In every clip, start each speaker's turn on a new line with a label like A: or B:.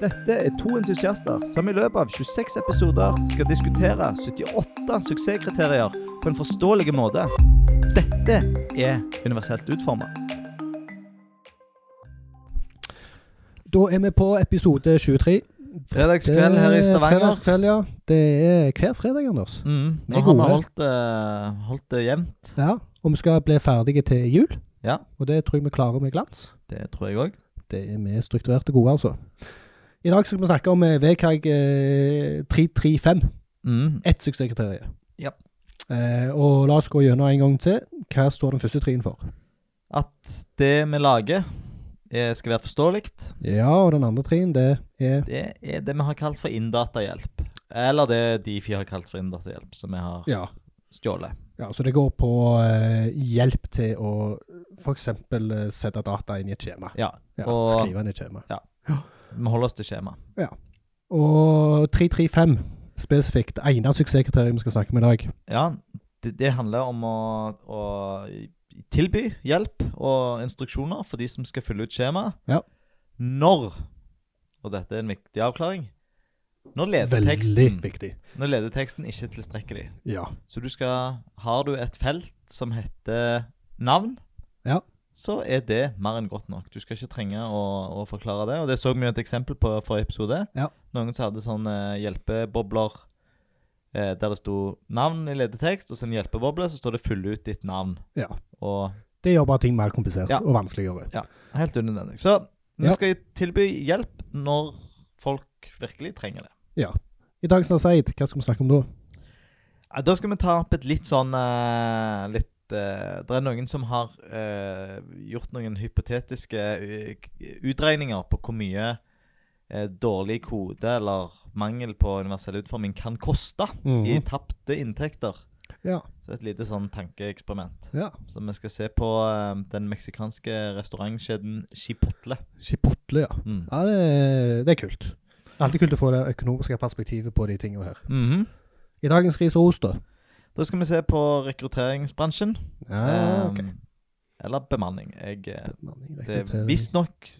A: Dette er to entusiaster som i løpet av 26 episoder skal diskutere 78 suksesskriterier på en forståelig måte. Dette er universelt utforma.
B: Da er vi på episode 23.
C: Fredagskveld her i Stavanger.
B: Fredagskveld, ja. Det er hver fredag, Anders.
C: Mm.
B: er
C: Nå har
B: gode.
C: vi holdt, eh, holdt det jevnt.
B: Ja, Og vi skal bli ferdige til jul.
C: Ja.
B: Og det tror jeg vi klarer med glans.
C: Det tror jeg òg.
B: Det er vi strukturerte gode, altså. I dag skal vi snakke om eh, VKG eh, 335.
C: Mm.
B: Ett suksesskriterium.
C: Ja.
B: Eh, og la oss gå gjennom en gang til. Hva står den første trien for?
C: At det vi lager, eh, skal være forståelig.
B: Ja, og den andre trien, det er
C: Det er det vi har kalt for inndatahjelp. Eller det Difi har kalt for inndatahjelp, som vi har
B: Ja.
C: stjålet.
B: ja så det går på eh, hjelp til å f.eks. Eh, sette data inn i et skjema.
C: Ja.
B: Ja,
C: Og-
B: Skrive inn i et skjema.
C: Vi holder oss til skjema.
B: Og 335 spesifikt, det ene suksesskriteriet vi skal snakke om i dag.
C: Ja, det, det handler om å, å tilby hjelp og instruksjoner for de som skal fylle ut skjemaet.
B: Ja.
C: Når, og dette er en viktig avklaring, når
B: Veldig
C: lederteksten,
B: viktig.
C: når lederteksten ikke er tilstrekkelig.
B: Ja.
C: Så du skal, har du et felt som heter navn,
B: Ja.
C: så er det mer enn godt nok. Du skal ikke trenge å, å forklare det. Og det så vi jo et eksempel på forrige episode.
B: Ja.
C: Noen som hadde sånne hjelpebobler eh, der det sto navn i ledetekst, og så en hjelpeboble, så står det 'fyll ut ditt navn'.
B: Ja.
C: Og
B: Det gjør bare ting mer komplisert
C: Ja.
B: og vanskeligere.
C: helt unødvendig. Så vi
B: Ja.
C: skal tilby hjelp når folk virkelig trenger det.
B: I dagens Naseid, hva skal vi snakke om da?
C: Ja, Da skal vi ta opp et litt sånn eh, litt, eh, Det er noen som har eh, gjort noen hypotetiske eh, k- utregninger på hvor mye eh, dårlig kode eller mangel på universell utforming kan koste i
B: Mhm.
C: tapte inntekter.
B: Mm. Ja.
C: Så et lite sånn tankeeksperiment.
B: Ja.
C: Så vi skal se på eh, den meksikanske restaurantkjeden Chipotle.
B: Chipotle, ja.
C: Mm.
B: Ja, det, det er kult. Alltid kult å få det økonomiske perspektivet på de tingene her.
C: Mhm.
B: I dagens ris og ost, da.
C: Da skal vi se på rekrutteringsbransjen.
B: Ja,
C: eh,
B: Ah, ok.
C: Eller bemanning. Jeg eh,
B: Bemanning,
C: Det er
B: rekruttering.
C: visstnok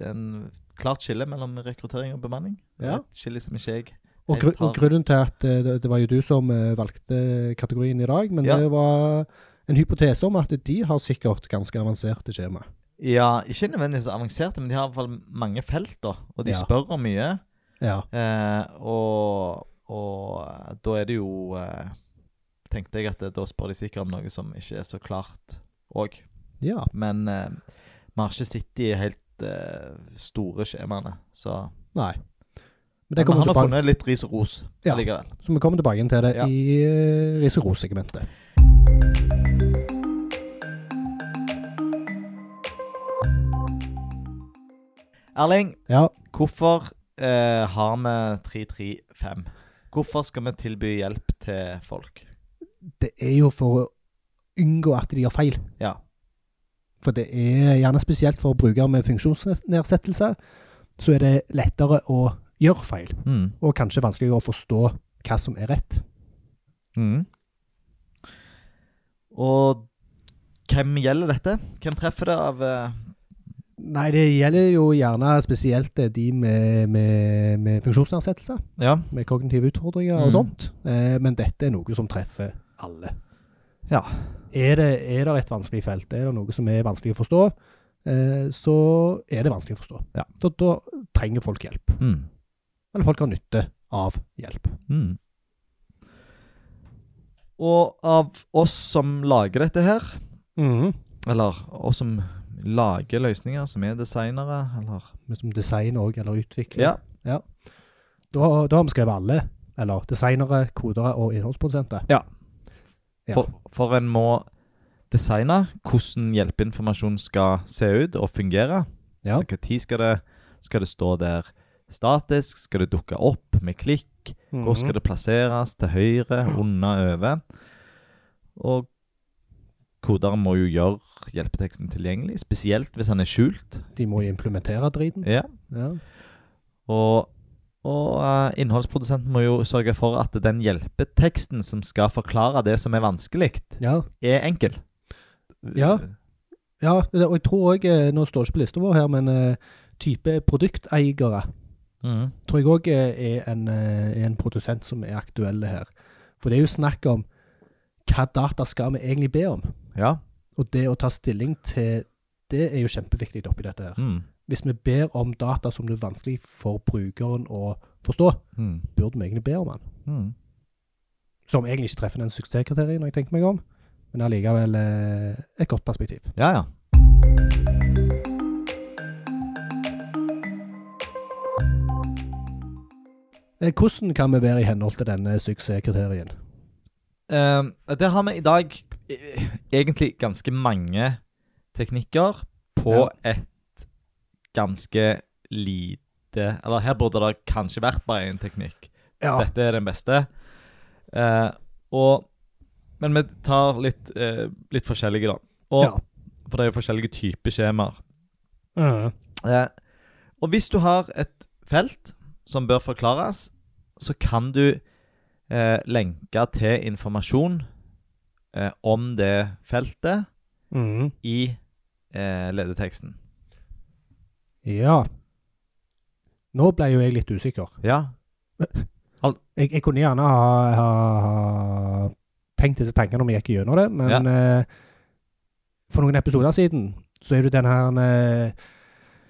C: en klart skille mellom rekruttering og bemanning. Det er
B: Ja.
C: Et skille som ikke jeg
B: Og, gru,
C: helt har-
B: og grunnen til at eh, det, det var jo du som eh, valgte kategorien i dag, men
C: Ja.
B: det var en hypotese om at de har sikkert ganske avanserte skjema.
C: Ja, ikke nødvendigvis avanserte, men de har i hvert fall mange felt, da. Og de
B: Ja.
C: spør om mye.
B: Ja.
C: Eh, og, og da er det jo eh, Tenkte jeg at det, da spør de sikkert om noe som ikke er så klart òg.
B: Ja.
C: Men eh, vi har ikke sett de helt eh, store skjemaene, så
B: Nei. Men det
C: Men vi
B: kommer
C: har nå
B: tilbake,
C: funnet litt ris og ros
B: Ja.
C: likevel.
B: så vi kommer tilbake igjen til det
C: Ja.
B: i eh, ris og ros-segmentet.
C: Erling,
B: Ja.
C: Hvorfor eh, har vi 335? Hvorfor skal vi tilby hjelp til folk?
B: Det er jo for å unngå at de gjør feil.
C: Ja.
B: For det er gjerne spesielt for brukere med funksjonsnedsettelse, så er det lettere å gjøre feil,
C: Mm,
B: og kanskje vanskeligere å forstå hva som er rett.
C: mm. Og hvem gjelder dette? Hvem treffer det av eh,
B: Nei, det gjelder jo gjerne spesielt eh, de med, med, med funksjonsnedsettelse,
C: Ja.
B: med kognitive utfordringer og
C: Mm.
B: sånt. Eh, men dette er noe som treffer alle.
C: Ja.
B: Er det, er det et vanskelig felt, er det noe som er vanskelig å forstå, eh, så er det vanskelig å forstå.
C: Ja.
B: Da, da trenger folk hjelp,
C: mm,
B: eller folk har nytte av hjelp.
C: Og av oss som lager dette her, Mm-hmm.
B: Mhm.
C: eller oss som lager løsninger, som er designere, eller
B: Men som design òg, eller utvikling.
C: Ja.
B: Da, har- da har vi skrevet alle. Eller designere, kodere og innholdsprodusenter. Ja.
C: For, for en må designe hvordan hjelpeinformasjon skal se ut og fungere.
B: Ja.
C: Så hva tid skal det, skal det stå der statisk? Skal det dukke opp med klikk? Hvor
B: Mhm.
C: skal det plasseres? Til høyre, under, over? Og koderen må jo gjøre hjelpeteksten tilgjengelig, spesielt hvis han er skjult.
B: De må jo implementere driten.
C: Ja.
B: Ja.
C: Og, og eh, innholdsprodusenten må jo sørge for at den hjelpeteksten som skal forklare det som er vanskelig,
B: Ja.
C: er enkel.
B: Ja. ja, det- og jeg tror òg Nå står det ikke på lista vår her, men eh, type eh, produkteiere
C: Mhm.
B: tror jeg òg er, en, eh, er en produsent som er aktuell her. For det er jo snakk om hva data skal vi egentlig be om?
C: Ja.
B: Og det å ta stilling til det er jo kjempeviktig oppi dette her.
C: Mm.
B: Hvis vi ber om data som det er vanskelig for brukeren å forstå,
C: Mm.
B: burde vi egentlig be om den.
C: Mm.
B: Som egentlig ikke treffer den suksesskriterien når jeg tenker meg om, men allikevel eh, et godt perspektiv.
C: Ja, ja.
B: Eh, Hvordan kan vi være i henhold til denne suksesskriterien?
C: Ehm, der har vi i dag eh, egentlig ganske mange teknikker på et ganske lite Eller her burde det kanskje vært bare én teknikk.
B: Ja,
C: Dette er den beste. Eh, og Men vi tar litt, eh, litt forskjellige, da. Og,
B: Ja.
C: For det er jo forskjellige typer skjemaer.
B: Mhm.
C: Eh, og hvis du har et felt som bør forklares, så kan du eh, lenke til informasjon eh, om det feltet
B: Mhm.
C: i eh, ledeteksten.
B: ja. Nå ble jo jeg litt usikker.
C: Ja.
B: Jeg, jeg kunne gjerne ha, ha, ha tenkt disse tankene om jeg gikk gjennom det, men eh, for noen episoder siden så er det den her eh,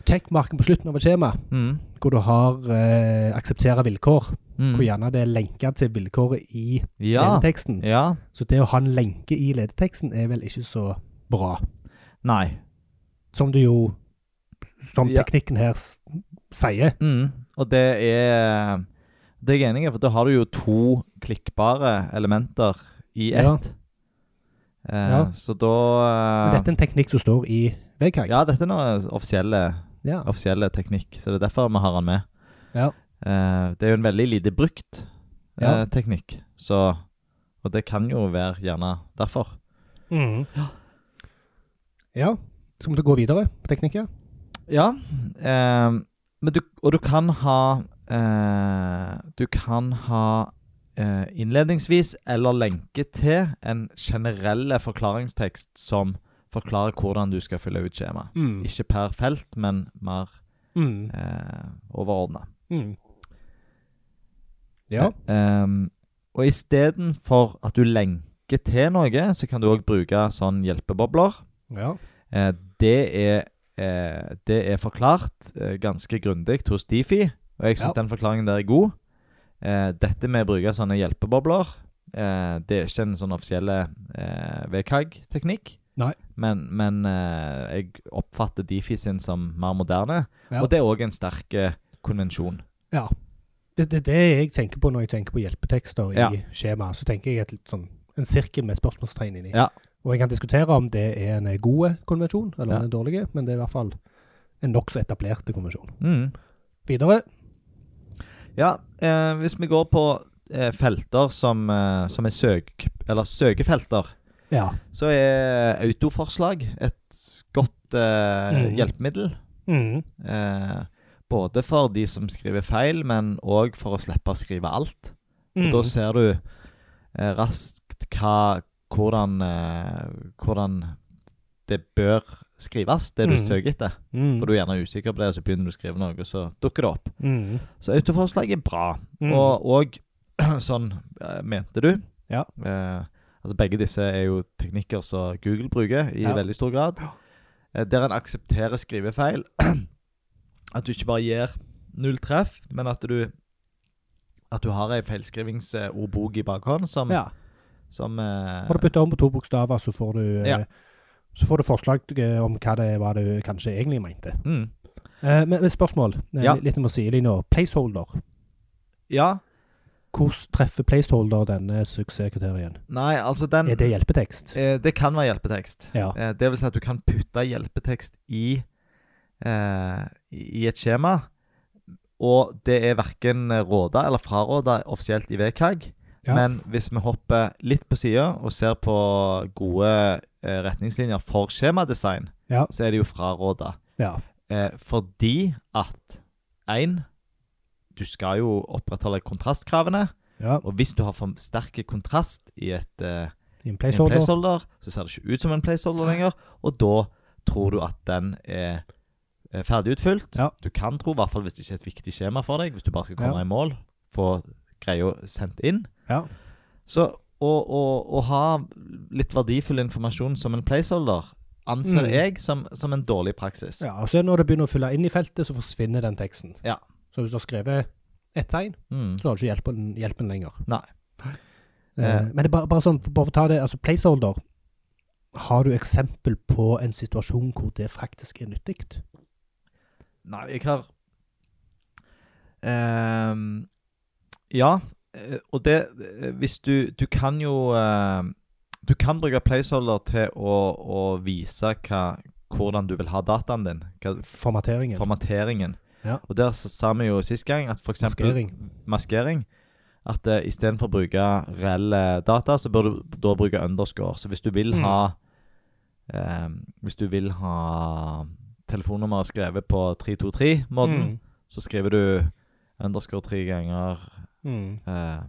B: checkmarken på slutten av et skjema,
C: Mm.
B: hvor du har eh, akseptere vilkår,
C: Mm.
B: hvor gjerne det er lenka til vilkåret i
C: Ja.
B: ledeteksten.
C: ja.
B: Så det å ha en lenke i ledeteksten er vel ikke så bra.
C: Nei.
B: Som du jo, som
C: Ja.
B: teknikken her s- sier.
C: Mm. Og det er Det er jeg enig i, for da har du jo to klikkbare elementer i ett.
B: Ja.
C: Eh,
B: Ja.
C: Så da eh,
B: Dette er en teknikk som står i VKG.
C: Ja, dette er noe offisielle
B: Ja.
C: offisielle teknikk, så det er derfor vi har han med.
B: Ja.
C: Eh, det er jo en veldig lite brukt eh,
B: Ja.
C: teknikk, så Og det kan jo være gjerne derfor.
B: Mm. Ja. Skal vi gå videre på teknikker?
C: Ja, eh, men du, og du kan ha eh, Du kan ha eh, innledningsvis eller lenke til en generell forklaringstekst som forklarer hvordan du skal fylle ut skjemaet.
B: Mm.
C: Ikke per felt, men mer
B: Mm.
C: eh, overordna.
B: Mm. Ja.
C: Um, og istedenfor at du lenker til noe, så kan du òg bruke sånn hjelpebobler.
B: ja.
C: Eh, det, er, eh, det er forklart eh, ganske grundig hos Difi, og jeg syns
B: Ja.
C: den forklaringen der er god. Eh, dette med å bruke sånne hjelpebobler, eh, det er ikke en sånn offisiell eh, VKG-teknikk.
B: Nei.
C: Men, men eh, jeg oppfatter Difi sin som mer moderne,
B: Ja.
C: og det er òg en sterk eh, konvensjon.
B: ja. Det er det, det jeg tenker på når jeg tenker på hjelpetekster
C: Ja.
B: i skjema. Så tenker jeg et litt sånn, en sirkel med spørsmålstegn inni.
C: Ja.
B: Og jeg kan diskutere om det er en god konvensjon, eller
C: Ja.
B: en dårlig, men det er i hvert fall en nokså etablert konvensjon.
C: Mm.
B: Videre.
C: Ja, eh, hvis vi går på eh, felter som, eh, som er søk... Eller søkefelter,
B: Ja.
C: så er autoforslag et godt eh,
B: Mhm.
C: hjelpemiddel.
B: Mm.
C: Eh, både for de som skriver feil, men òg for å slippe å skrive alt. Og
B: Mm.
C: Da ser du eh, raskt hva Hvordan, eh, hvordan det bør skrives, det du
B: Mhm.
C: søker etter.
B: Mm.
C: For du er gjerne usikker på det, og så begynner du å skrive noe, og så dukker det opp.
B: Mm.
C: Så autoforslag er bra.
B: Mm.
C: Og, og sånn eh, mente du.
B: Ja.
C: Eh, altså begge disse er jo teknikker som Google bruker i
B: Ja.
C: veldig stor grad. Eh, der en aksepterer skrivefeil. at du ikke bare gir null treff, men at du at du har ei feilskrivingsordbok i bakhånd som,
B: ja.
C: som eh,
B: Må du bytte om på to bokstaver, så får du, eh,
C: Ja.
B: så får du forslag eh, om hva det var du kanskje egentlig mente.
C: mm,
B: Eh, men, men spørsmål. Eh,
C: Ja.
B: Litt om å si det nå. Placeholder.
C: Ja.
B: Hvordan treffer placeholder denne suksesskriterien?
C: Nei, altså den
B: Er det hjelpetekst?
C: eh, Det kan være hjelpetekst.
B: Ja.
C: Eh, Det vil si at du kan putte hjelpetekst i, eh, i et skjema, og det er verken råda eller fraråda offisielt i VKG.
B: Ja.
C: Men hvis vi hopper litt på sida og ser på gode eh, retningslinjer for skjemadesign,
B: Ja.
C: så er det jo fraråda.
B: Ja.
C: Eh, fordi at én Du skal jo opprettholde kontrastkravene,
B: ja.
C: og hvis du har for sterk kontrast i et eh,
B: I en
C: en
B: placeholder.
C: placeholder, så ser det ikke ut som en placeholder lenger, og da tror du at den er eh, ferdig utfylt.
B: Ja.
C: Du kan tro, i hvert fall hvis det ikke er et viktig skjema for deg, hvis du bare skal komme
B: Ja.
C: i mål, få greia sendt inn.
B: Ja.
C: Så å, å, å ha litt verdifull informasjon som en placeholder anser
B: Mm.
C: jeg som, som en dårlig praksis.
B: ja. Og så når det begynner å fylle inn i feltet, så forsvinner den teksten.
C: Ja.
B: Så hvis du har skrevet ett tegn,
C: Mm.
B: så har du ikke hjelpen, hjelpen lenger.
C: Nei.
B: Eh,
C: Eh.
B: Men det er bare, bare sånn, bare for å ta det, altså placeholder Har du eksempel på en situasjon hvor det faktisk er nyttig?
C: Nei, jeg har Ehm, Ja, eh, og det eh, Hvis du Du kan jo eh, Du kan bruke placeholder til å, å vise hva, hvordan du vil ha dataen din. Hva,
B: Formateringen.
C: formateringen.
B: Ja.
C: Og der s- sa vi jo sist gang at for eksempel
B: Maskering.
C: maskering At uh, istedenfor å bruke reelle data, så bør du da bruke underscore. Så hvis du vil
B: Mm.
C: ha eh, Hvis du vil ha telefonnummer skrevet på 323-måten, så skriver du underscore tre ganger
B: Mm. Mm.
C: eh,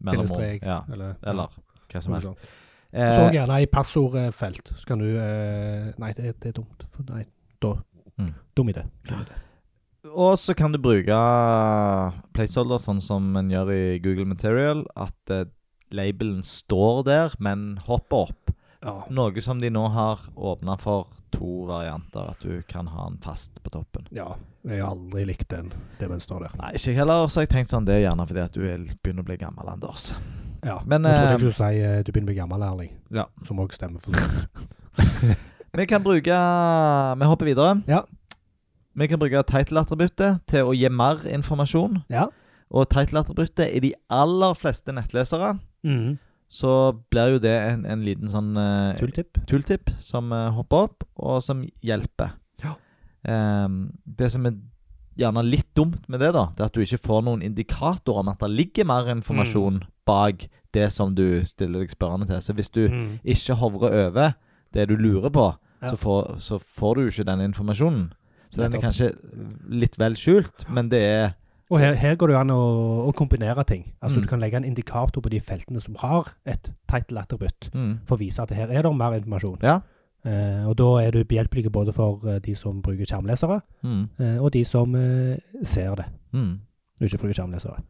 C: mellomrom.
B: Bindestrek.
C: Ja,
B: Eller,
C: eller hva som
B: noe
C: helst.
B: sånt.
C: Eh,
B: Så gjerne i passordfelt. Så kan du eh, Nei, det, det er dumt. For nei, da
C: Mm.
B: Dum idé.
C: Og så kan du bruke placeholder sånn som en gjør i Google Material, at eh, labelen står der, men hopper opp.
B: Ja.
C: Noe som de nå har åpna for to varianter, at du kan ha den fast på toppen.
B: ja. Jeg har aldri likt den, det mønsteret der.
C: Nei, ikke jeg heller. Så har jeg tenkt sånn, det er gjerne fordi at du er, begynner å bli gammel, Anders.
B: Ja.
C: Men,
B: Nå
C: eh,
B: trodde jeg ikke du skulle si eh, du begynner å bli gammel, Erling.
C: Ja.
B: Som òg stemmer for det.
C: Vi kan bruke Vi hopper videre.
B: Ja.
C: Vi kan bruke title-attributtet til å gi mer informasjon.
B: Ja.
C: Og title-attributtet i de aller fleste nettlesere
B: Mm.
C: så blir jo det en, en liten sånn eh,
B: Tulltipp.
C: tooltip som eh, hopper opp, og som hjelper.
B: Ja.
C: Ehm, det som er gjerne litt dumt med det, da, det er at du ikke får noen indikator om at det ligger mer informasjon
B: Mm.
C: bak det som du stiller deg spørrende til. Så hvis du
B: Mm.
C: ikke hovrer over det du lurer på,
B: Ja.
C: så, får, så får du jo ikke den informasjonen. Så den er
B: Nettopp.
C: kanskje litt vel skjult, men det er
B: Og her, her går det jo an å, å kombinere ting. Altså
C: Mm.
B: Du kan legge en indikator på de feltene som har et title-attributt,
C: mm,
B: for å vise at her er det mer informasjon.
C: Ja.
B: Eh, og da er du behjelpelig både for eh, de som bruker skjermlesere,
C: mm,
B: eh, og de som eh, ser det
C: mm.
B: og ikke bruker skjermlesere.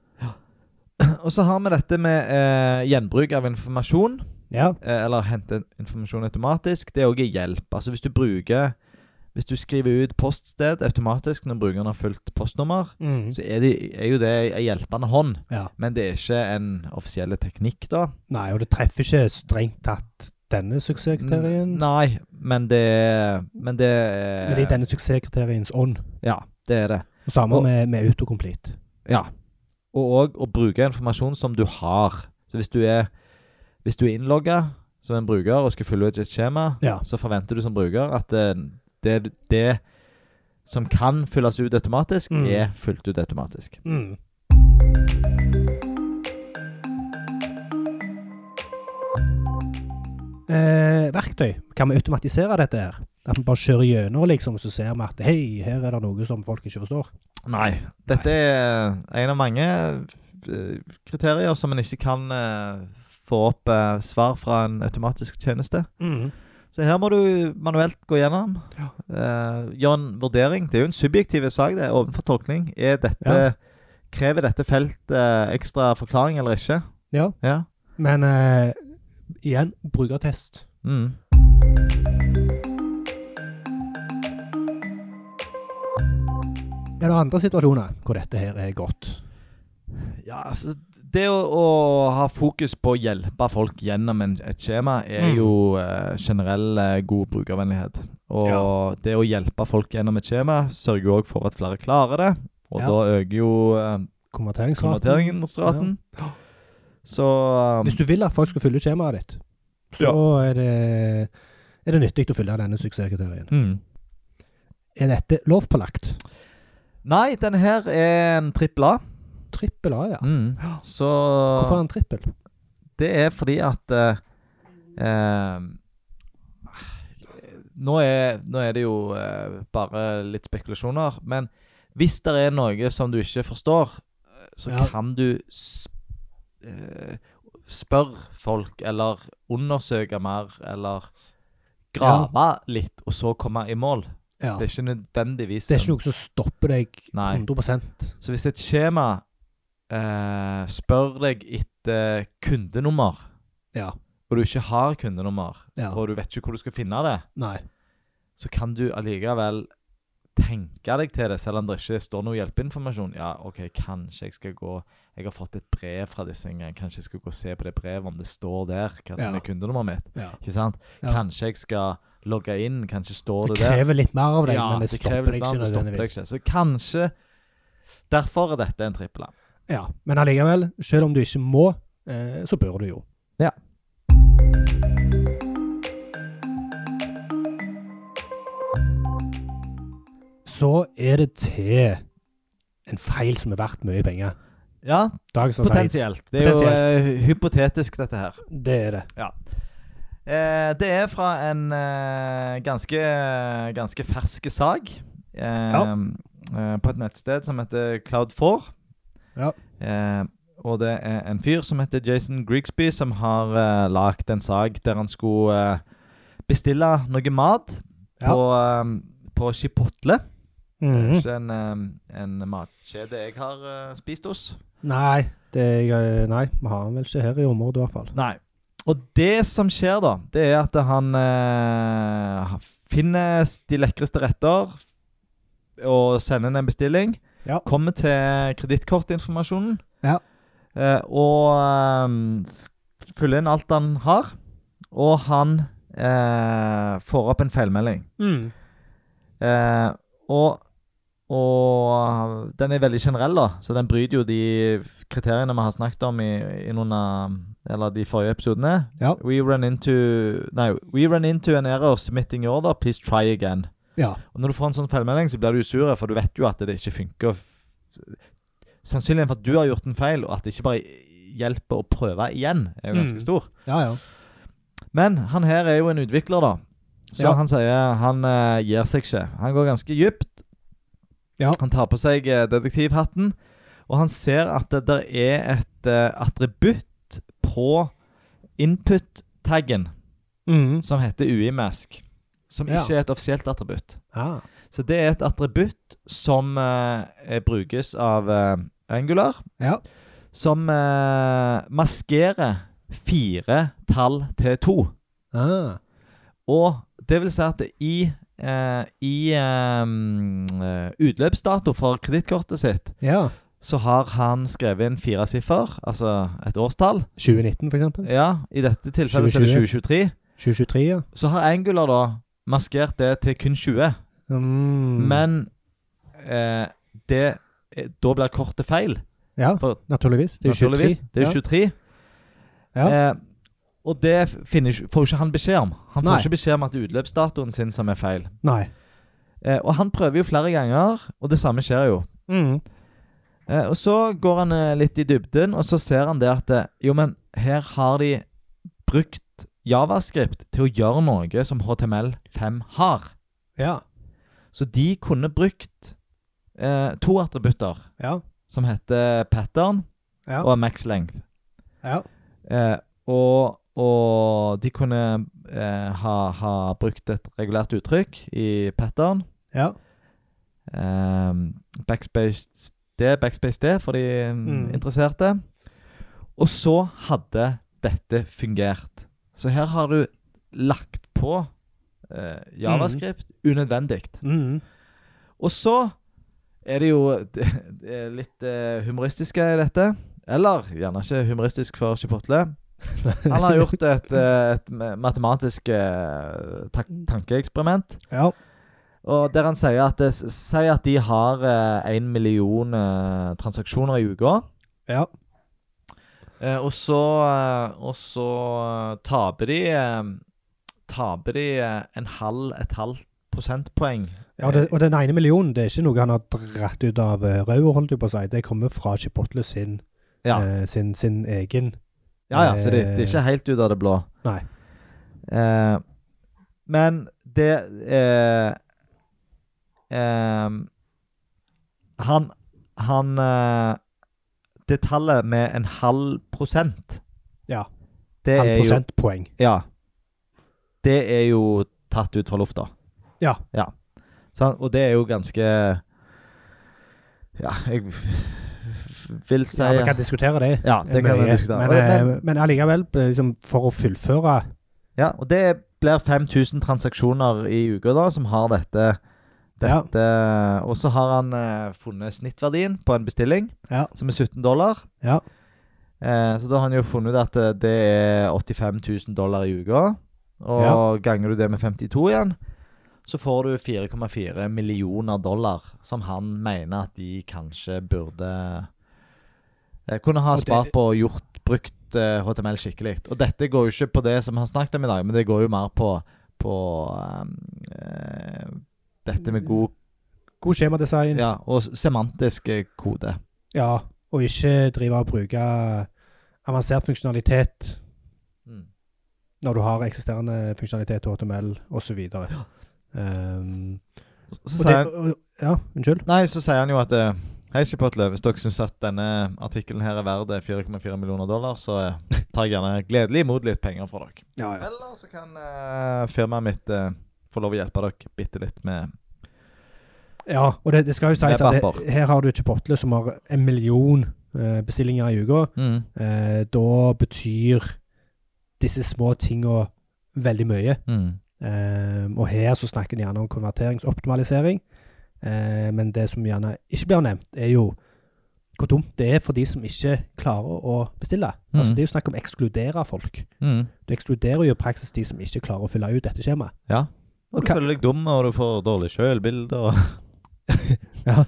C: Og så har vi dette med eh, gjenbruk av informasjon.
B: Ja.
C: eh, eller hente informasjon automatisk, det òg er også hjelp. Altså hvis du bruker Hvis du skriver ut poststed automatisk når brukeren har fulgt postnummer, så er, de, er jo det ei hjelpende hånd.
B: Mm. ja.
C: Men det er ikke en offisiell teknikk, da.
B: Nei, og det treffer ikke strengt tatt denne suksesskriterien,
C: N- Mm, Nei, men det Men det
B: men det er i denne suksesskriteriens ånd.
C: Ja, det er det.
B: Og Samme
C: Og-
B: med, med autocomplete.
C: Ja. Og òg å bruke informasjon som du har. Så hvis du er Hvis du er innlogga som en bruker og skal fylle ut et skjema,
B: Ja.
C: så forventer du som bruker at eh, det, det som kan fylles ut automatisk,
B: Mm.
C: er fylt ut automatisk.
B: Mm. Eh, verktøy. Kan vi automatisere dette her? At vi bare kjører gjennom, liksom, så ser vi at hei, her er det noe som folk ikke forstår.
C: Nei. Dette er en av mange eh, kriterier som en ikke kan eh, få opp eh, svar fra en automatisk tjeneste. Så her må du manuelt gå gjennom.
B: Ja.
C: Eh, gjøre en vurdering. Det er jo en subjektiv sak, det. er Åpen for tolkning. Er dette
B: Ja.
C: Krever dette felt eh, ekstra forklaring eller ikke?
B: Ja.
C: Ja.
B: Men eh, igjen, brukertest.
C: Mm.
B: Er det andre situasjoner hvor dette her er godt?
C: ja altså, det å, å ha fokus på å hjelpe folk gjennom en, et skjema, er
B: Mm.
C: jo eh, generell eh, god brukervennlighet. Og
B: Ja.
C: det å hjelpe folk gjennom et skjema sørger jo òg for at flere klarer det. Og
B: Ja.
C: da øker jo eh,
B: Konverteringsraten?
C: konverteringsraten.
B: Ja.
C: Så um,
B: Hvis du vil at folk skal fylle ut skjemaet ditt, så er, det, er det nyttig å fylle denne suksesskriterien.
C: mm.
B: Er dette lovpålagt?
C: Nei, denne her er en trippel A.
B: Trippel A, ja.
C: Mm. Så
B: Hvorfor en trippel?
C: Det er fordi at eh, eh, nå, er, nå er det jo eh, bare litt spekulasjoner, men hvis det er noe som du ikke forstår, eh, så
B: Ja.
C: kan du sp eh, spørre folk, eller undersøke mer, eller grave litt, og så komme i mål.
B: Ja.
C: Det er ikke nødvendigvis
B: Det er ikke
C: en-
B: noe som stopper deg
C: Nei.
B: 100
C: Så hvis et skjema eh, spør deg etter kundenummer,
B: Ja.
C: og du ikke har kundenummer,
B: ja.
C: og du vet ikke hvor du skal finne det,
B: Nei.
C: så kan du allikevel tenke deg til det, selv om det ikke står noe hjelpeinformasjon. Ja, OK, kanskje jeg skal gå Jeg har fått et brev fra disse en gang. Kanskje jeg skal gå og se på det brevet, om det står der hva som
B: Ja.
C: er kundenummeret mitt.
B: Ja.
C: Ikke sant?
B: Ja.
C: Kanskje jeg skal logge inn. Kanskje står
B: Det
C: det, der.
B: krever litt mer av deg,
C: Ja,
B: men
C: krever
B: det stopper deg
C: litt
B: ikke
C: mer, det stopper deg
B: nødvendigvis.
C: ikke. Så kanskje Derfor er dette en trippel.
B: Ja. Men allikevel, selv om du ikke må, eh, så bør du jo.
C: Ja.
B: Så er det til en feil som er verdt mye penger.
C: Ja,
B: Dagens Potensielt.
C: Potensielt. Det er jo
B: Potensielt.
C: eh, hypotetisk, dette her.
B: Det er det.
C: Eh, det er fra en eh, ganske, ganske ferske sak eh,
B: Ja.
C: eh, på et nettsted som heter Cloud4.
B: Ja.
C: Eh, og det er en fyr som heter Jason Grigsby, som har eh, lagd en sak der han skulle eh, bestille noe mat
B: Ja.
C: på, eh, på Chipotle. Det er
B: Mhm.
C: Ikke en, eh, en matkjede jeg har eh, spist hos.
B: Nei, det er, nei, vi har den vel ikke her i området i hvert fall.
C: Nei. Og det som skjer da, det er at han eh, finner de lekreste retter og sender inn en bestilling.
B: Ja.
C: Kommer til kredittkortinformasjonen.
B: Ja.
C: eh, og eh, s- fyller inn alt han har. Og han eh, får opp en feilmelding. Eh, og, og den er veldig generell, da. Så den bryter jo de kriteriene vi har snakket om i, i noen av Eller de forrige episodene.
B: Ja.
C: We run into Nei, we run into an error submitting your order. Please try again.
B: Ja.
C: Og når du får en sånn feilmelding, så blir du jo sur, for du vet jo at det ikke funker. Sannsynligheten for at du har gjort en feil, og at det ikke bare hjelper å prøve igjen, er jo
B: Mm.
C: ganske stor.
B: Ja, ja.
C: Men han her er jo en utvikler, da. Så
B: Ja.
C: han sier han eh, gir seg ikke. Han går ganske dypt.
B: Ja.
C: Han tar på seg eh, detektivhatten, og han ser at det der er et eh, attributt på input-taggen
B: Mhm.
C: som heter UI-mask, som
B: Ja.
C: ikke er et offisielt attributt.
B: Ah,
C: Så det er et attributt som eh, eh, brukes av eh, Angular,
B: ja.
C: som eh, maskerer fire tall til to.
B: Ah,
C: Og det vil si at i, eh, i eh, eh, utløpsdato for kredittkortet sitt,
B: ja.
C: så har han skrevet inn fire siffer, altså et årstall.
B: 2019 for eksempel.
C: Ja, I dette tilfellet så er det 2023.
B: 2023, ja.
C: Så har Angular da maskert det til kun 20,
B: Mm.
C: men eh, det eh, Da blir kortet feil.
B: Ja,
C: For-
B: naturligvis. Det er jo 23.
C: naturligvis. Det er jo 23.
B: Ja. Ja.
C: Eh, og det finner, ikke- får ikke han beskjed om. Han får
B: Nei.
C: ikke beskjed om at det er utløpsdatoen sin som er feil.
B: Nei.
C: Eh, og han prøver jo flere ganger, og det samme skjer jo.
B: Mm.
C: Eh, og så går han eh, litt i dybden, og så ser han det at eh, jo, men her har de brukt Javascript til å gjøre noe som HTML5 har.
B: Ja.
C: Så de kunne brukt eh, to attributter
B: Ja.
C: som heter pattern
B: Ja.
C: og max length.
B: Ja.
C: Eh, og, og de kunne eh, ha, ha brukt et regulært uttrykk i pattern.
B: Ja.
C: Ehm, backspace D, backspace D, for de mm.
B: Mm.
C: interesserte. Og så hadde dette fungert. Så her har du lagt på eh, javascript unødvendig.
B: Mm.
C: Og så er det jo det, det er litt eh, humoristiske i dette. Eller gjerne ikke humoristisk for Chipotle. Han har gjort et, eh, et matematisk eh, tak tankeeksperiment.
B: Ja.
C: Og der han sier at, eh, sier at de har én million eh, transaksjoner i uka.
B: Ja.
C: Eh, og så, eh, og så eh, taper de eh, Taper de eh, en halv, et halvt prosentpoeng.
B: Ja, og det, og den ene millionen, det er ikke noe han har dratt ut av eh, røret, holdt jeg på å si. Det kommer fra Chipotle sin,
C: Ja,
B: eh, sin, sin egen.
C: ja, ja så det, det er ikke helt ut av det blå.
B: Eh. Nei.
C: Eh, men det eh, eh, Han Han eh, Det tallet med en halv prosent
B: Ja.
C: Det
B: halv
C: er jo
B: prosentpoeng.
C: Ja. Det er jo tatt ut fra lufta.
B: Ja.
C: Sant? og det er jo ganske Ja, jeg vil si
B: Ja, vi kan diskutere det.
C: Ja, det kan vi
B: Mye.
C: diskutere.
B: Men,
C: Og det-
B: eh, men allikevel, eh, liksom, for å fullføre
C: Ja, og det blir 5000 transaksjoner i uka da, som har dette. dette Og så har han eh, funnet snittverdien på en bestilling,
B: Ja.
C: som er 17 dollar.
B: Ja.
C: Eh, så da har han jo funnet ut at eh, det er 85 000 dollar i uka. Og
B: Ja.
C: ganger du det med 52 igjen, så får du 4,4 millioner dollar som han mener at de kanskje burde eh, Kunne ha
B: Og det-
C: spart på og gjort brukt eh, HTML skikkelig. Og dette går jo ikke på det som vi har snakket om i dag, men det går jo mer på, på eh, eh, dette med god
B: god skjemadesign. Ja.
C: Ja, og s- semantisk eh, kode.
B: og ikke drive og bruke avansert funksjonalitet
C: Mm.
B: når du har eksisterende funksjonalitet, HTML osv. Um,
C: Så,
B: og
C: så
B: det-
C: sier han,
B: og- ja, unnskyld?
C: nei, så sier han jo at eh, Hei, Chipotle. Hvis dere syns at denne artikkelen her er verd eh, 4,4 millioner dollar, så eh, tar jeg gjerne gledelig imot litt penger fra dere.
B: Ja,
C: Eller så kan eh, firmaet mitt eh, få lov å hjelpe dere bitte litt med
B: Ja, og det, det skal jo sies at
C: Webapper.
B: det, her har du Chipotle som har en million eh, bestillinger i uka.
C: Mm,
B: Eh, da betyr disse små tinga veldig mye.
C: Mm.
B: Eh, og her så snakker de gjerne om konverteringsoptimalisering. Eh, men det som gjerne ikke blir nevnt, er jo hvor dumt det er for de som ikke klarer å bestille. Altså,
C: Mhm.
B: det er jo snakk om å ekskludere folk.
C: Mm.
B: Du ekskluderer jo i praksis de som ikke klarer å fylle ut dette skjemaet.
C: Ja. Og du
B: Hva-
C: føler deg dum, og du får dårlig sjølbilde. Og...
B: Ja,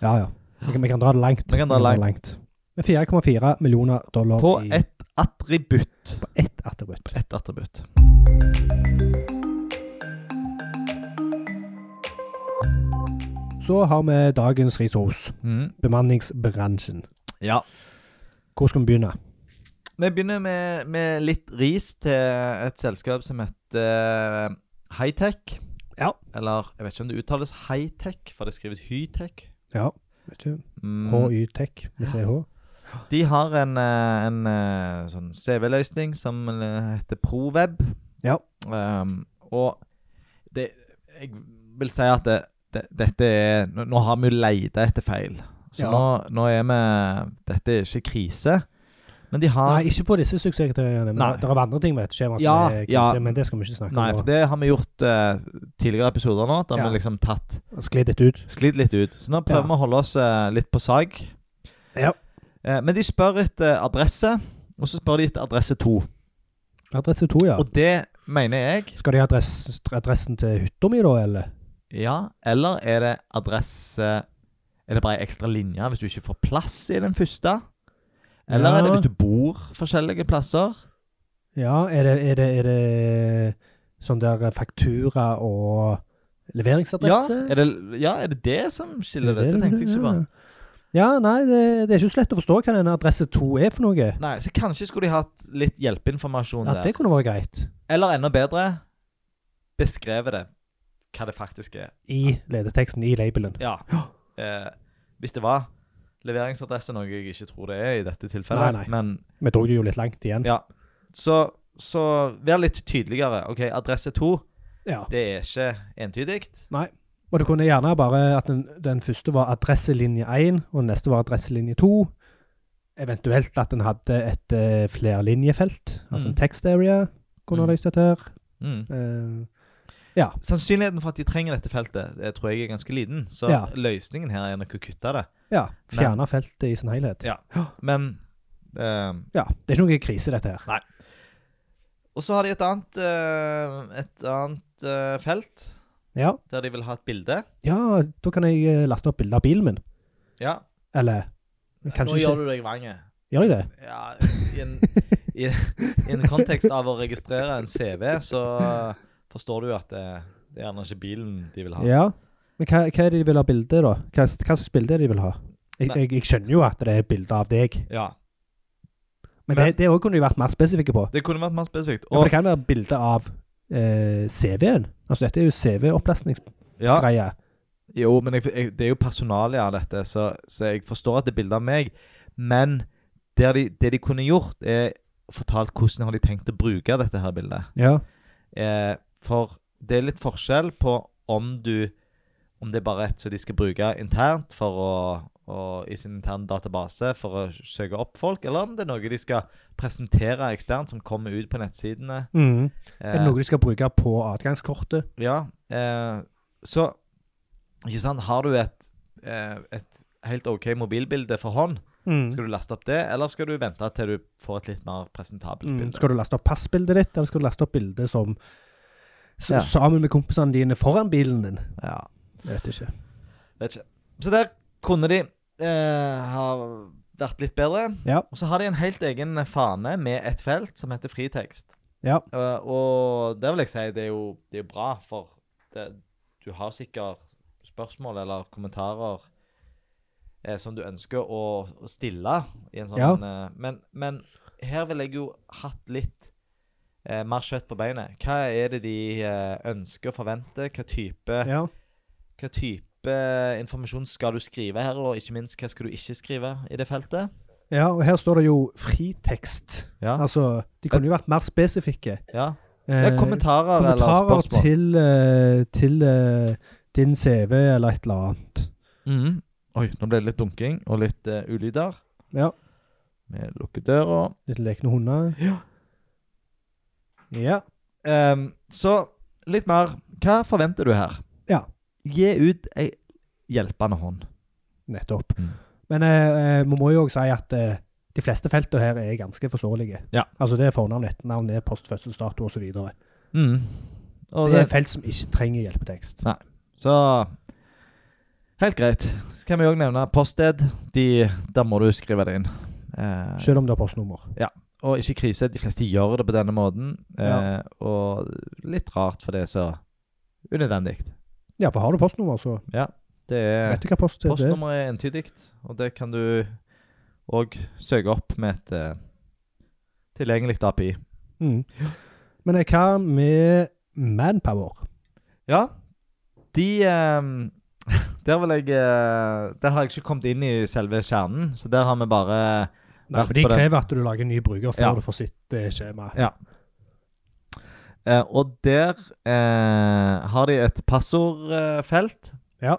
B: ja. Vi kan, vi kan dra det langt.
C: Vi kan dra langt.
B: Med 4,4 millioner dollar
C: På
B: i
C: et attributt.
B: på ett attributt.
C: Et attributt.
B: Så har vi dagens resource, bemanningsbransjen.
C: Mm, Ja.
B: Hvor skal vi begynne?
C: Vi begynner med, med litt ris til et selskap som heter Hightech.
B: Ja.
C: Eller jeg vet ikke om det uttales Hightech, for det er skrevet Hytech.
B: Ja, vet ikke.
C: Mm.
B: HY-tech med CH.
C: De har en, eh, en eh, sånn CV-løsning som eh, heter ProWeb.
B: Ja.
C: Ehm, og det Jeg vil si at det, det, dette er Nå, nå har vi jo leita etter feil. Så
B: Ja.
C: nå, nå er vi Dette er ikke krise. Men de har
B: Nei, ikke på disse suksesskriteriene.
C: Nei.
B: men Det er andre ting med dette skjemaet
C: Ja,
B: som er krise,
C: ja.
B: men det skal vi ikke snakke
C: Nei,
B: om.
C: for det har vi gjort eh, tidligere episoder nå. Da har
B: Ja.
C: vi liksom tatt
B: nå. Skli litt ut.
C: sklidd litt ut. Så nå prøver
B: Ja.
C: vi å holde oss eh, litt på sag.
B: Ja.
C: Eh, men de spør etter adresse, og så spør de etter adresse to.
B: Adresse 2, ja.
C: Og det mener jeg
B: Skal de ha adress, adressen til hytta mi, da, eller?
C: Ja, eller er det adresse Er det bare ei ekstra linje hvis du ikke får plass i den første? Eller er det
B: Ja.
C: hvis du bor forskjellige plasser?
B: Ja, er det, er det, er det sånn der faktura og
C: Ja
B: leveringsadresse?
C: er, det, ja, er det det som skiller det? Det tenkte jeg ikke på.
B: Ja, nei, det, det er ikke så lett å forstå hva denne adresse 2 er for noe.
C: Nei, Så kanskje skulle de hatt litt hjelpeinformasjon
B: Ja,
C: der.
B: det kunne vært greit.
C: Eller enda bedre Beskrevet det Hva det faktisk er
B: I ledeteksten, i labelen.
C: Ja eh, Hvis det var leveringsadresse Noe jeg ikke tror det er i dette tilfellet
B: Nei, nei.
C: Men
B: Vi dro det jo litt langt igjen.
C: ja Så, så vær litt tydeligere Ok, adresse 2
B: Ja.
C: Det er ikke entydigt
B: Og det kunne gjerne bare at den, den første var adresselinje 1, og den neste var adresselinje 2. Eventuelt at den hadde et eh, flerlinjefelt, altså
C: Mm.
B: en text area, kunne
C: Mm.
B: ha løst dette her.
C: mm.
B: Eh,
C: Sannsynligheten for at de trenger dette feltet Det tror jeg er ganske liten Så
B: Ja.
C: løsningen her er nok å kutte det
B: ja, fjerne feltet i sin helhet.
C: Ja Men eh,
B: Ja, det er ikke noe krise dette her.
C: Og så har de et annet eh, Et annet eh, felt
B: Ja,
C: Der de vil ha et bilde
B: ja da kan jeg eh, laste opp bilde av bilen min.
C: Ja
B: Eller,
C: Nå
B: kanskje
C: gjør
B: ikke.
C: du deg vanget.
B: Gjør jeg det?
C: Ja, i en, i, I en kontekst av å registrere en CV, så forstår du at det, det er gjerne ikke bilen de vil ha.
B: Ja. Men hva, hva er det de vil ha bilde, da? Hva, hva slags bilde er det de vil ha? Jeg,
C: Nei.
B: jeg, jeg skjønner jo at det er bilde av deg,
C: Ja, Men-
B: men, det, det også kunne de vært mer spesifikke på.
C: Det kunne vært mer spesifikt.
B: Ja, for
C: Og,
B: det kan være bilde av eh, CV-en. Altså dette er jo CV-opplastningsgreie.
C: ja, jo, men jeg, jeg, det er jo personalia av dette, så, så jeg forstår at det er bilde av meg. Men der de, det de kunne gjort, er fortalt hvordan har de tenkt å bruke dette her bildet.
B: Ja.
C: Eh, for det er litt forskjell på om du Om det er bare et som de skal bruke internt for å, å, i sin interne database for å søke opp folk, eller om det er noe de skal presentere eksternt, som kommer ut på nettsidene.
B: Mm. Er det
C: Eh,
B: noe de skal bruke på adgangskortet?
C: ja, eh, så ikke sant? Har du et, eh, et helt OK mobilbilde for hånd,
B: Mm.
C: skal du laste opp det, eller skal du vente til du får et litt mer presentabelt
B: Mm.
C: bilde?
B: Skal du laste opp passbildet ditt, eller skal du laste opp bildet som som
C: Ja.
B: sammen med kompisene dine foran bilen din?
C: Ja,
B: Jeg vet ikke.
C: vet ikke. Så der kunne de eh, ha vært litt bedre.
B: Ja.
C: Og så har de en helt egen fane med et felt som heter fritekst.
B: Ja.
C: Eh, og der vil jeg si det er jo, det er jo bra, for det, du har sikkert spørsmål eller kommentarer eh, som du ønsker å, å stille i en sånn eh, men, men her vil jeg jo hatt litt eh, mer kjøtt på beinet. Hva er det de eh, ønsker og forventer? Hva type
B: ja.
C: hva type informasjon skal du skrive her, og ikke minst hva skal du ikke skrive i det feltet?
B: Ja, og her står det jo fritekst.
C: Ja.
B: Altså, de kunne jo vært mer spesifikke.
C: ja.
B: Eh,
C: ja kommentarer, eller
B: kommentarer
C: spørsmål.
B: til, eh, til eh, din CV eller et eller annet.
C: Mhm. Oi, nå ble det litt dunking og litt eh, ulyder.
B: Ja.
C: Vi lukker døra.
B: Litt lekne hunder.
C: Ja.
B: Ja.
C: Ehm, så litt mer. Hva forventer du her?
B: Ja.
C: Gi ut ei hjelpende hånd.
B: Nettopp.
C: Mm.
B: Men eh, eh, vi må jo òg si at eh, de fleste feltene her er ganske forståelige.
C: Ja.
B: Altså det er fornavn, etternavn, det er postfødselsdato osv. Det,
C: Og
B: Mm. det er
C: det,
B: felt som ikke trenger hjelpetekst.
C: Nei. så Helt greit. Så kan vi òg nevne poststed. De, der må du skrive det inn. Eh,
B: Selv om det er postnummer.
C: og ikke krise. De fleste gjør det på denne måten. Eh,
B: Ja.
C: Og litt rart, for det er så unødvendig.
B: Ja, for har du postnummer, så
C: Det er
B: vet du hva post det er.
C: Postnummeret er entydig, og det kan du òg søke opp med et eh, tilgjengelig API.
B: Mm. Men eh, hva med manpower?
C: Ja, de eh, Der vil jeg eh, Der har jeg ikke kommet inn i selve kjernen, så der har vi bare
B: Nei,
C: Vært
B: for de
C: på det.
B: krever at du lager en ny bruker før
C: Ja.
B: du får sitt eh, skjema.
C: eh, Og der eh, har de et passordfelt
B: Ja.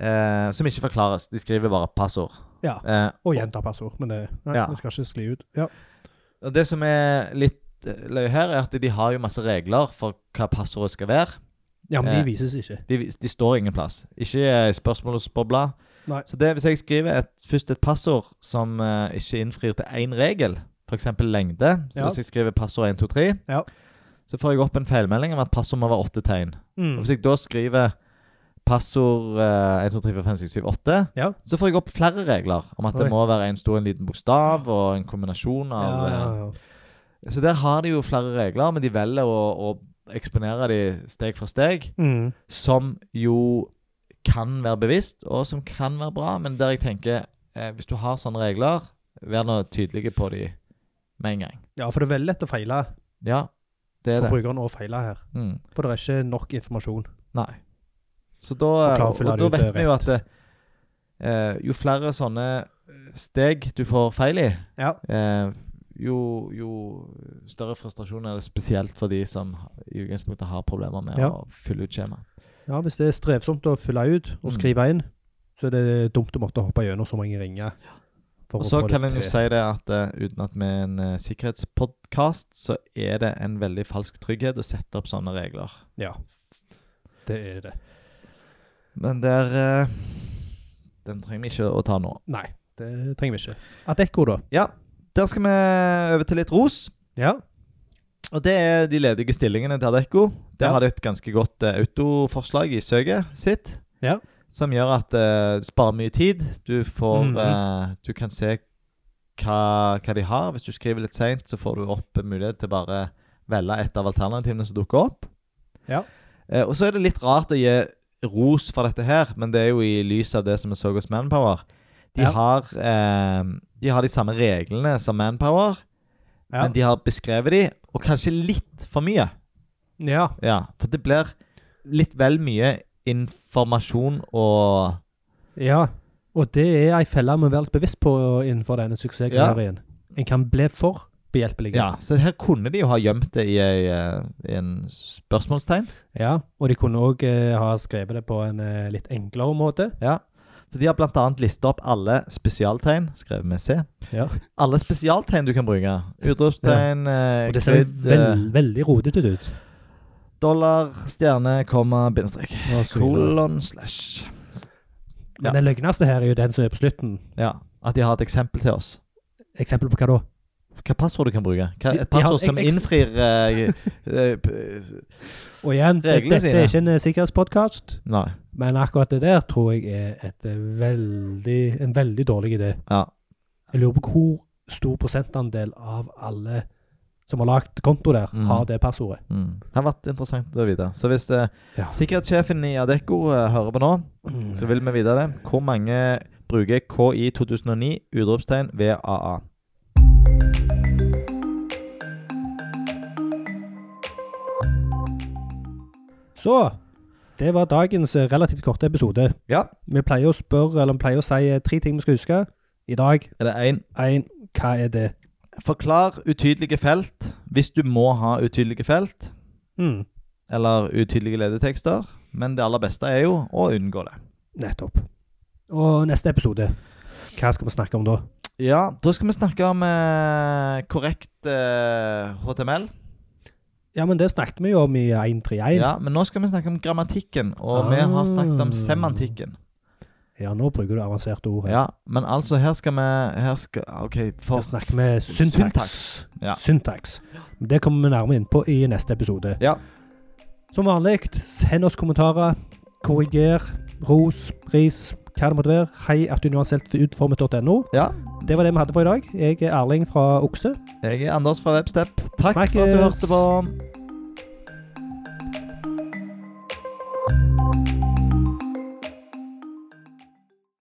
C: eh, som ikke forklares. De skriver bare passord.
B: Ja.
C: Eh,
B: Og gjenta passord. Men det nei,
C: Ja.
B: det skal ikke skli ut. Ja.
C: Og det som er litt eh, løye her, er at de har jo masse regler for hva passordet skal være.
B: ja, men de
C: Eh.
B: vises ikke.
C: De, vis- de står ingen plass. Ikke eh, i spørsmålsbobla.
B: Nei.
C: Så det, hvis jeg skriver et, først et passord som eh, ikke innfrir til én regel, f.eks. lengde Så
B: Ja.
C: Hvis jeg skriver passord 1, 2, 3,
B: Ja.
C: så får jeg opp en feilmelding om at passord må være åtte tegn.
B: Mm.
C: Og Hvis jeg da skriver passord eh, 1, 2, 3, 4, 5, 6, 7, 8,
B: Ja.
C: så får jeg opp flere regler om at
B: Oi.
C: det må være en stor en liten bokstav og en kombinasjon
B: Mm. Ja,
C: av
B: ja,
C: eh,
B: ja.
C: Så der har de jo flere regler, men de velger å, å eksponere de steg for steg,
B: Mm.
C: som jo kan være bevisst, og som kan være bra, men der jeg tenker eh, Hvis du har sånne regler, vær nå tydelige på de med en gang.
B: ja, for det er veldig lett å feile
C: Ja, det er
B: for
C: det.
B: brukeren å feile her.
C: Mm.
B: For det er ikke nok informasjon.
C: Nei. Så da,
B: Og klar å
C: og, da
B: fylle det ut,
C: vet
B: det er
C: vi jo at eh, jo flere sånne eh, steg du får feil i,
B: Ja.
C: eh, jo, jo større frustrasjon er det spesielt for de som i utgangspunktet har problemer med
B: Ja.
C: å fylle ut skjema.
B: Ja, Hvis det er strevsomt å fylle ut og
C: Mm.
B: skrive inn, så er det dumt å måtte hoppe gjennom så mange ringer. for
C: Og
B: å
C: så
B: få det
C: kan en jo
B: til.
C: si det at eh, uten at vi er en uh, sikkerhetspodkast, så er det en veldig falsk trygghet å sette opp sånne regler.
B: Ja, det er det.
C: Men der eh, Den trenger vi ikke å ta nå.
B: Nei, det trenger vi ikke. Adecco, da?
C: Ja, der skal vi over til litt ros.
B: Ja.
C: Og det er de ledige stillingene til Adecco. Der
B: Ja.
C: har de et ganske godt eh, autoforslag i søket sitt.
B: Ja.
C: Som gjør at eh, det sparer mye tid. Du, får,
B: Mhm.
C: eh, du kan se hva, hva de har. Hvis du skriver litt seint, så får du opp en mulighet til bare velge et av alternativene som dukker opp.
B: Ja.
C: Eh, og så er det litt rart å gi ros for dette her, men det er jo i lys av det som vi så hos Manpower. De,
B: Ja.
C: har, eh, de har de samme reglene som Manpower.
B: Ja.
C: Men de har beskrevet de, og kanskje litt for mye.
B: ja.
C: Ja, For det blir litt vel mye informasjon og
B: Ja, og det er ei felle vi må være litt bevisst på innenfor denne suksesskarrieren. En kan bli for behjelpelige.
C: Ja, så her kunne de jo ha gjemt det i, ei, eh, i en spørsmålstegn.
B: Ja, og de kunne òg ha skrevet det på en eh, litt enklere måte.
C: Ja. Så De har bl.a. lista opp alle spesialtegn, skrevet med C.
B: Ja.
C: Alle spesialtegn du kan bruke. Utropstegn, eh, ja.
B: Og det ser jo vel- veldig rodete ut.
C: dollar, stjerne, komma, bindestrek.
B: Og så videre.
C: Kolon slash.
B: Men den løgneste her er jo den som er på slutten.
C: Ja. At de har et eksempel til oss.
B: Eksempel på hva da?
C: Hva passord du kan bruke? Hva,
B: De-
C: et
B: de har
C: passord som
B: ek- ekstra-
C: innfrir eh, eh, p-
B: Og igjen, det,
C: Reglene
B: dette
C: sine.
B: er ikke en eh, sikkerhetspodkast,
C: Nei.
B: men akkurat det der tror jeg er et eh, veldig, en veldig dårlig idé.
C: Ja.
B: Jeg lurer på hvor stor prosentandel av alle som har lagd konto der,
C: Mm.
B: har det passordet.
C: Mm. Det har vært interessant å vite. Så hvis eh,
B: Ja.
C: sikkerhetssjefen i Adecco eh, hører på nå, så vil vi vite det. Hvor mange bruker KI 2009 utropstegn VAA?
B: Så det var dagens eh, relativt korte episode.
C: Ja.
B: Vi pleier å spørre, eller vi pleier å si eh, tre ting vi skal huske. I dag
C: Er det én?
B: én hva er det?
C: Forklar utydelige felt hvis du må ha utydelige felt,
B: Mm,
C: eller utydelige ledetekster. Men det aller beste er jo å unngå det.
B: nettopp. Og neste episode, hva skal vi snakke om da?
C: Ja, da skal vi snakke om eh, korrekt eh, HTML.
B: Ja, men det snakket vi jo om i 131. Ja,
C: Ja, Men nå skal vi snakke om grammatikken, og vi har snakket om semantikken.
B: nå bruker du avanserte ord. her.
C: Ja, Men altså, her skal vi her skal, OK,
B: Vi
C: for
B: snakker med syntaks.
C: Ja.
B: Syntaks. Det kommer vi nærmere inn på i neste episode.
C: Ja.
B: Som vanlig, send oss kommentarer. Korriger. Ros. Ris. Hva det måtte være. Hei at universeltutformet.no.
C: ja.
B: Det var det vi hadde for i dag. Jeg er Erling fra Okse.
C: Jeg er Anders fra Webstep. Takk for at du
B: Snakkes.
C: hørte på.